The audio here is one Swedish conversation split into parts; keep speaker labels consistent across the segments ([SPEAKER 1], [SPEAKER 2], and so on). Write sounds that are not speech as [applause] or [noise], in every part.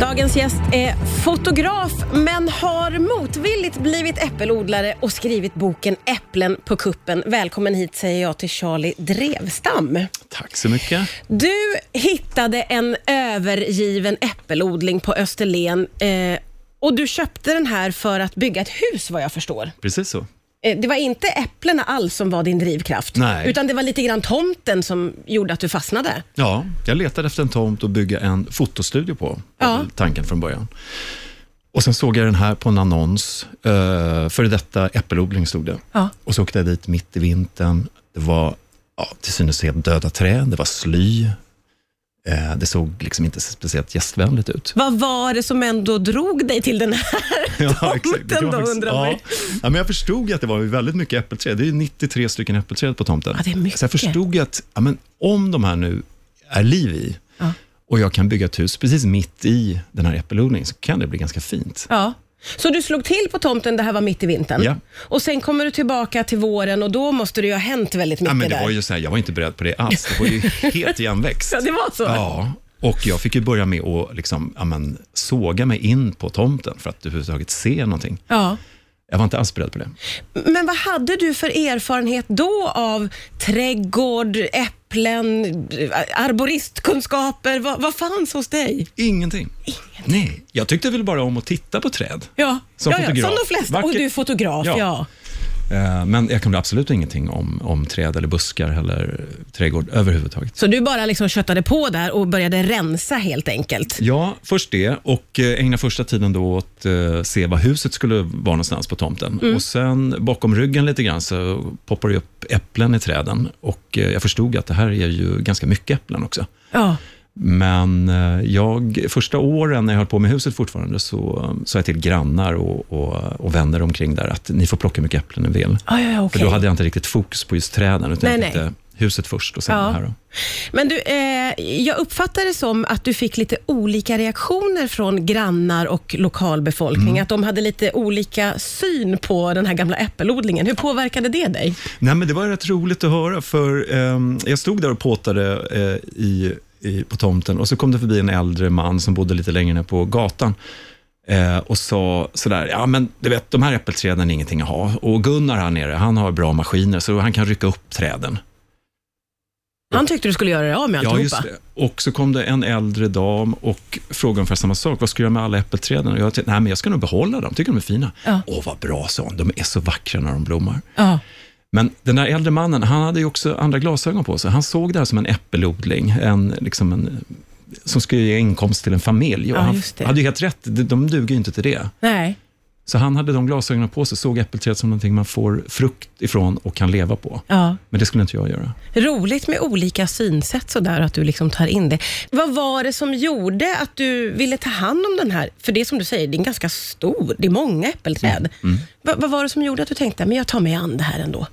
[SPEAKER 1] Dagens gäst är fotograf men har motvilligt blivit äppelodlare och skrivit boken Äpplen på kuppen. Välkommen hit säger jag till Charlie Drevstam.
[SPEAKER 2] Tack så mycket.
[SPEAKER 1] Du hittade en övergiven äppelodling på Österlen eh, och du köpte den här för att bygga ett hus vad jag förstår.
[SPEAKER 2] Precis så.
[SPEAKER 1] Eh, Det var inte äpplena alls som var din drivkraft,
[SPEAKER 2] Nej.
[SPEAKER 1] utan det var lite grann tomten som gjorde att du fastnade.
[SPEAKER 2] Ja, jag letade efter en tomt att bygga en fotostudio på,
[SPEAKER 1] Ja.
[SPEAKER 2] var väl tanken från början. Och sen såg jag den här på en annons. Uh, före detta äppelodling stod det.
[SPEAKER 1] Ja.
[SPEAKER 2] Och så åkte jag dit mitt i vintern. Det var ja, till synes helt döda träd, det var sly. Eh, det såg liksom inte speciellt gästvänligt ut.
[SPEAKER 1] Vad var det som ändå drog dig till den här [laughs]
[SPEAKER 2] Ja,
[SPEAKER 1] tomten
[SPEAKER 2] Det kan man
[SPEAKER 1] då,
[SPEAKER 2] faktiskt-
[SPEAKER 1] undrar man ju.
[SPEAKER 2] ja. ja, men Jag förstod ju att det var väldigt mycket äppelträd. Det är 93 stycken äppelträd på tomten.
[SPEAKER 1] Ja, det är mycket.
[SPEAKER 2] Så jag förstod ju att ja, men om de här nu är liv i och jag kan bygga ett hus precis mitt i den här äppelodlingen så kan det bli ganska fint.
[SPEAKER 1] Ja. Så du slog till på tomten, det här var mitt i vintern.
[SPEAKER 2] Ja.
[SPEAKER 1] Och sen kommer du tillbaka till våren och då måste det ju ha hänt väldigt mycket
[SPEAKER 2] Ja, men det
[SPEAKER 1] där.
[SPEAKER 2] var ju så här, jag var inte beredd på det alls. Det var ju helt
[SPEAKER 1] [laughs]
[SPEAKER 2] igenväxt.
[SPEAKER 1] Ja, det var så?
[SPEAKER 2] Ja, och jag fick ju börja med att liksom, ja, men, såga mig in på tomten för att överhuvudtaget se någonting.
[SPEAKER 1] Ja.
[SPEAKER 2] Jag var inte alls beredd på det.
[SPEAKER 1] Men vad hade du för erfarenhet då av trädgård, äpplen, arboristkunskaper? Vad, vad fanns hos dig?
[SPEAKER 2] Ingenting. Nej, jag tyckte väl bara om att titta på träd.
[SPEAKER 1] Ja,
[SPEAKER 2] Som
[SPEAKER 1] ja, ja,
[SPEAKER 2] fotograf.
[SPEAKER 1] som de flesta.
[SPEAKER 2] Vacker-
[SPEAKER 1] Och du är fotograf, ja.
[SPEAKER 2] Ja. Eh, Men jag kunde absolut ingenting om, om träd eller buskar eller trädgård överhuvudtaget.
[SPEAKER 1] Så du bara liksom köttade på där och började rensa helt enkelt?
[SPEAKER 2] Ja, först det och eh, ägna första tiden då åt eh, se vad huset skulle vara någonstans på tomten. Och sen bakom ryggen lite grann så poppar det upp äpplen i träden och eh, jag förstod att det här är ju ganska mycket äpplen också.
[SPEAKER 1] Ja.
[SPEAKER 2] Men eh, jag, första åren när jag höll på med huset fortfarande så eh, sa jag till grannar och, och, och vänner omkring där att ni får plocka hur mycket äpplen ni vill.
[SPEAKER 1] Ja, ja, ja, okej.
[SPEAKER 2] För då hade jag inte riktigt fokus på just träden, utan
[SPEAKER 1] Nej,
[SPEAKER 2] jag tänkte huset först och sen
[SPEAKER 1] Ja.
[SPEAKER 2] det här. Då.
[SPEAKER 1] Men du, eh, jag uppfattar det som att du fick lite olika reaktioner från grannar och lokalbefolkning.
[SPEAKER 2] Mm.
[SPEAKER 1] Att de hade lite olika syn på den här gamla äppelodlingen. Hur påverkade det dig?
[SPEAKER 2] Nej, men det var rätt roligt att höra, för ehm, jag stod där och påtade eh, i, i, på tomten och så kom det förbi en äldre man som bodde lite längre ner på gatan eh, och sa sådär, ja men du vet, de här äppelträden är ingenting att ha och Gunnar här nere, han har bra maskiner så han kan rycka upp träden.
[SPEAKER 1] Han tyckte du skulle göra dig av med alltihopa.
[SPEAKER 2] Ja, just det. Och så kom det en äldre dam och frågade ungefär samma sak. Vad ska jag göra med alla äppelträden? Och jag tänkte, nej men jag ska nog behålla dem, tycker de är fina.
[SPEAKER 1] Ja.
[SPEAKER 2] Åh, vad bra, sa hon. De är så vackra när de blommar.
[SPEAKER 1] Ja.
[SPEAKER 2] Men den där äldre mannen, han hade ju också andra glasögon på sig. Han såg det här som en äppelodling, en, liksom en, som skulle ge inkomst till en familj. Och
[SPEAKER 1] Ja,
[SPEAKER 2] han
[SPEAKER 1] just det.
[SPEAKER 2] hade ju helt rätt, de, de duger ju inte till det.
[SPEAKER 1] Nej.
[SPEAKER 2] Så han hade de glasögonen på sig, såg äppelträd som någonting man får frukt ifrån och kan leva på.
[SPEAKER 1] Ja.
[SPEAKER 2] Men det skulle inte jag göra.
[SPEAKER 1] Roligt med olika synsätt sådär och att du liksom tar in det. Vad var det som gjorde att du ville ta hand om den här? För det är som du säger, det är en ganska stor, det är många äppelträd.
[SPEAKER 2] Mm.
[SPEAKER 1] Va, vad var det som gjorde att du tänkte, men jag tar mig an det här ändå?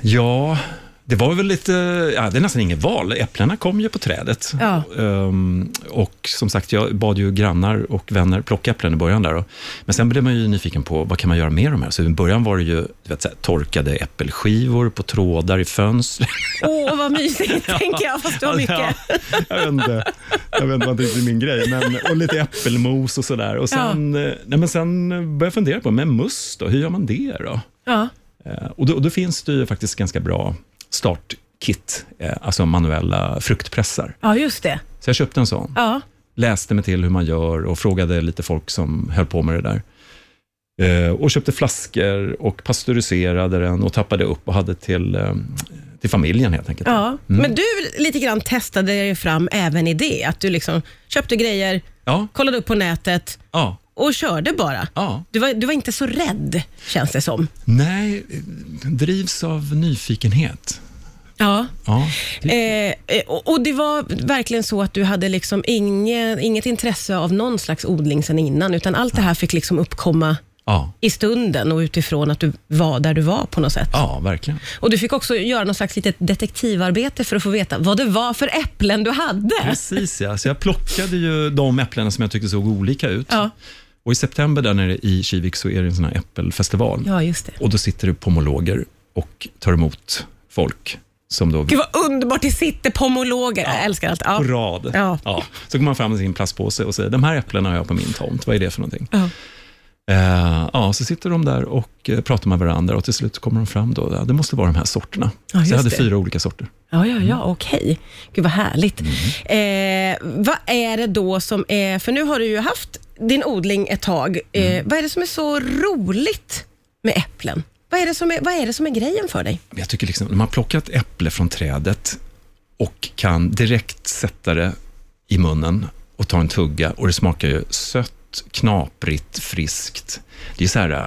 [SPEAKER 2] Ja, det var väl lite, ja, det är nästan inget val. Äpplena kom ju på trädet.
[SPEAKER 1] Ja.
[SPEAKER 2] Ehm, och som sagt, jag bad ju grannar och vänner plocka äpplen i början där. Och, men sen blev man ju nyfiken på, vad kan man göra med de här? Så i början var det ju du vet, så här, torkade äppelskivor på trådar i fönster.
[SPEAKER 1] Åh, vad
[SPEAKER 2] [laughs]
[SPEAKER 1] mysigt, tänker jag, fast du har mycket.
[SPEAKER 2] Ja, jag vet inte, jag vet inte vad det är min grej. Men, och lite äppelmos och sådär. Och sen, eh, nej, men sen började jag fundera på, men must då? Hur gör man det då?
[SPEAKER 1] Ja.
[SPEAKER 2] Eh, Och då, och då finns det ju faktiskt ganska bra startkit, eh, alltså manuella fruktpressar.
[SPEAKER 1] ja, just det.
[SPEAKER 2] Så jag köpte en sån,
[SPEAKER 1] Ja.
[SPEAKER 2] läste mig till hur man gör och frågade lite folk som höll på med det där. Eh, Och köpte flaskor och pasteuriserade den och tappade upp och hade till, eh, till familjen helt enkelt.
[SPEAKER 1] ja. Men du lite grann testade dig fram även i det, att du liksom köpte grejer,
[SPEAKER 2] Ja,
[SPEAKER 1] kollade upp på nätet
[SPEAKER 2] ja,
[SPEAKER 1] och körde bara.
[SPEAKER 2] ja.
[SPEAKER 1] Du var, du var inte så rädd, känns det som.
[SPEAKER 2] Nej, eh, drivs av nyfikenhet.
[SPEAKER 1] Ja.
[SPEAKER 2] Ja.
[SPEAKER 1] Eh, eh, och och det var verkligen så att du hade liksom inge, inget intresse av någon slags odling sen innan, utan allt det här fick liksom uppkomma
[SPEAKER 2] Ja.
[SPEAKER 1] i stunden och utifrån att du var där du var på något sätt.
[SPEAKER 2] ja, verkligen.
[SPEAKER 1] Och Du fick också göra något slags litet detektivarbete för att få veta vad det var för äpplen du hade.
[SPEAKER 2] Precis ja, så jag plockade ju de äpplena som jag tyckte såg olika ut.
[SPEAKER 1] Ja.
[SPEAKER 2] Och i september där nere i Kivik så är det en sån här äppelfestival.
[SPEAKER 1] Ja, just det.
[SPEAKER 2] Och då sitter det pomologer och tar emot folk som då
[SPEAKER 1] Gud vad underbart, det sitter pomologer. Jag älskar allt. Ja.
[SPEAKER 2] på rad.
[SPEAKER 1] Ja.
[SPEAKER 2] Så kommer man fram med sin plastpåse och säger, de här äpplena har jag på min tomt, vad är det för någonting?
[SPEAKER 1] Ja.
[SPEAKER 2] Eh, ja, så sitter de där och eh, pratar med varandra och till slut kommer de fram då, ja, det måste vara de här sorterna.
[SPEAKER 1] Ja,
[SPEAKER 2] så jag
[SPEAKER 1] just
[SPEAKER 2] hade
[SPEAKER 1] det.
[SPEAKER 2] fyra olika sorter.
[SPEAKER 1] Ja, ja, ja, okej. Gud vad härligt. Eh, vad är det då som är, för nu har du ju haft din odling ett tag. Eh, Vad är det som är så roligt med äpplen? Vad är, det som är, vad är det som är grejen för dig?
[SPEAKER 2] Men Jag tycker liksom, när man har plockat äpple från trädet och kan direkt sätta det i munnen och ta en tugga och det smakar ju sött, knaprigt, friskt. Det är så här, äh,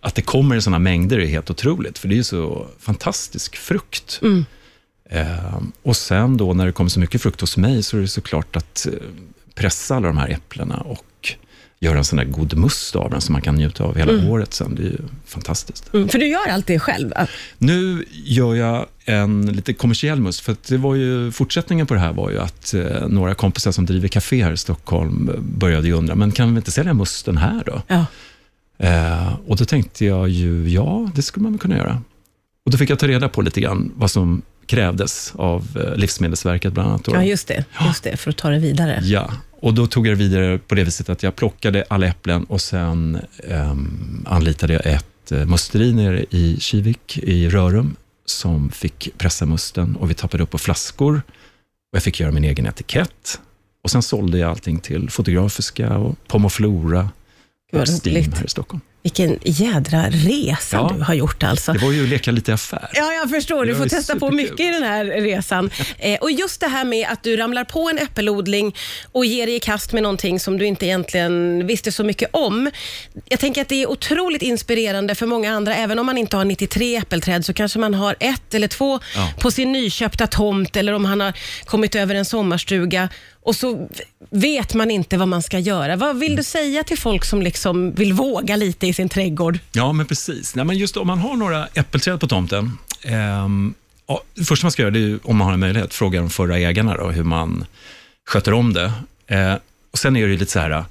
[SPEAKER 2] att det kommer i sådana mängder är helt otroligt, för det är ju så fantastisk frukt. Ehm, och sen då när det kommer så mycket frukt hos mig så är det såklart att eh, pressa alla de här äpplena och göra en sån där god must av den som man kan njuta av hela året sen. Det är ju fantastiskt.
[SPEAKER 1] Mm, för du gör allt det själv. Ah,
[SPEAKER 2] Nu gör jag en lite kommersiell must, för att det var ju, fortsättningen på det här var ju att eh, några kompisar som driver café här i Stockholm började ju undra, men kan vi inte sälja musten här då?
[SPEAKER 1] Ja.
[SPEAKER 2] Eh, och då tänkte jag ju, ja, det skulle man väl kunna göra. Och då fick jag ta reda på lite grann vad som krävdes av eh, Livsmedelsverket bland annat. Då.
[SPEAKER 1] ja, just det. Just det, för att ta det vidare.
[SPEAKER 2] Ja, och då tog jag det vidare på det viset att jag plockade alla äpplen och sen ehm, anlitade jag ett eh, musteri nere i Kivik i Rörum som fick pressa musten och vi tappade upp på flaskor och jag fick göra min egen etikett. Och sen sålde jag allting till Fotografiska och Pomoflora
[SPEAKER 1] Gud, vad
[SPEAKER 2] och Steam
[SPEAKER 1] roligt.
[SPEAKER 2] här i Stockholm.
[SPEAKER 1] Vilken jädra resa
[SPEAKER 2] Ja.
[SPEAKER 1] du har gjort alltså.
[SPEAKER 2] Det var ju att leka lite affär.
[SPEAKER 1] Ja, jag förstår.
[SPEAKER 2] Det
[SPEAKER 1] Du
[SPEAKER 2] var
[SPEAKER 1] får
[SPEAKER 2] ju
[SPEAKER 1] testa på
[SPEAKER 2] superkul.
[SPEAKER 1] mycket i den här resan. Eh, och just det här med att du ramlar på en äppelodling och ger dig i kast med någonting som du inte egentligen visste så mycket om. Jag tänker att det är otroligt inspirerande för många andra. Även om man inte har 93 äppelträd så kanske man har ett eller två
[SPEAKER 2] Ja.
[SPEAKER 1] på sin nyköpta tomt eller om han har kommit över en sommarstuga och så vet man inte vad man ska göra. Vad vill du säga till folk som liksom vill våga lite i sin trädgård?
[SPEAKER 2] Ja, men precis. Nej, men just om man har några äppelträd på tomten. ehm, ja, det första man ska göra, det är ju, om man har en möjlighet, fråga de förra ägarna då, hur man sköter om det. Eh, och Sen är det ju lite så här,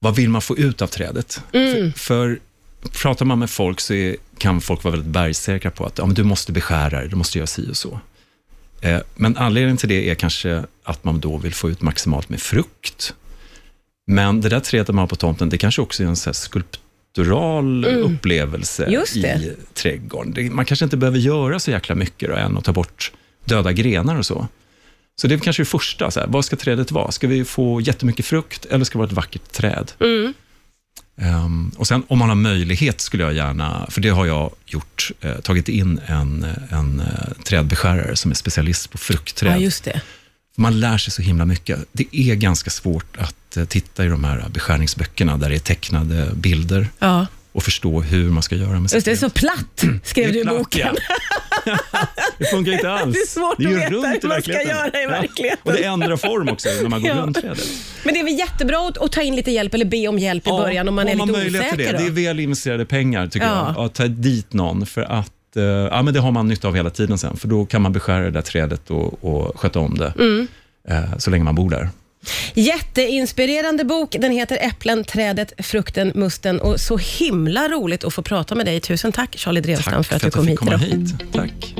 [SPEAKER 2] vad vill man få ut av trädet?
[SPEAKER 1] Mm.
[SPEAKER 2] För, för pratar man med folk så är, kan folk vara väldigt bergsäkra på att ja, men du måste beskära det, du måste göra si och så. Eh, men anledningen till det är kanske att man då vill få ut maximalt med frukt. Men det där trädet man har på tomten, det kanske också är en så här skulptural upplevelse
[SPEAKER 1] Mm. Just det.
[SPEAKER 2] i trädgården. Det, man kanske inte behöver göra så jäkla mycket då, än att ta bort döda grenar och så. Så det är kanske det första, så här, vad ska trädet vara? Ska vi få jättemycket frukt eller ska det vara ett vackert träd?
[SPEAKER 1] Mm.
[SPEAKER 2] Ehm, och sen om man har möjlighet skulle jag gärna, för det har jag gjort, eh, tagit in en, en eh, trädbeskärare som är specialist på fruktträd.
[SPEAKER 1] Ja, just det.
[SPEAKER 2] Man lär sig så himla mycket. Det är ganska svårt att eh, titta i de här beskärningsböckerna där det är tecknade bilder
[SPEAKER 1] Ja.
[SPEAKER 2] och förstå hur man ska göra med sitt
[SPEAKER 1] Just det, det är
[SPEAKER 2] träd.
[SPEAKER 1] så platt, skrev du i boken.
[SPEAKER 2] ja. [laughs] det funkar inte alls.
[SPEAKER 1] Det är svårt
[SPEAKER 2] ju
[SPEAKER 1] att veta
[SPEAKER 2] runt i
[SPEAKER 1] hur man ska
[SPEAKER 2] verkligheten.
[SPEAKER 1] göra i verkligheten.
[SPEAKER 2] Ja. Och det ändrar form också när man går
[SPEAKER 1] Ja.
[SPEAKER 2] runt trädet.
[SPEAKER 1] Men det är väl jättebra att, att ta in lite hjälp eller be om hjälp i
[SPEAKER 2] Ja,
[SPEAKER 1] början om man är lite
[SPEAKER 2] möjlighet
[SPEAKER 1] osäker.
[SPEAKER 2] till det.
[SPEAKER 1] då.
[SPEAKER 2] det är väl investerade pengar, tycker
[SPEAKER 1] Ja.
[SPEAKER 2] jag. Att ta dit någon, för att eh, ja, men det har man nytta av hela tiden sen, för då kan man beskära det där trädet och, och sköta om det,
[SPEAKER 1] Mm.
[SPEAKER 2] eh, så länge man bor där.
[SPEAKER 1] Jätteinspirerande bok. Den heter Äpplen, trädet, frukten, musten och så himla roligt att få prata med dig. Tusen tack Charlie Drevstam för att du
[SPEAKER 2] jag
[SPEAKER 1] kom
[SPEAKER 2] fick
[SPEAKER 1] hit
[SPEAKER 2] komma
[SPEAKER 1] idag.
[SPEAKER 2] hit. Tack.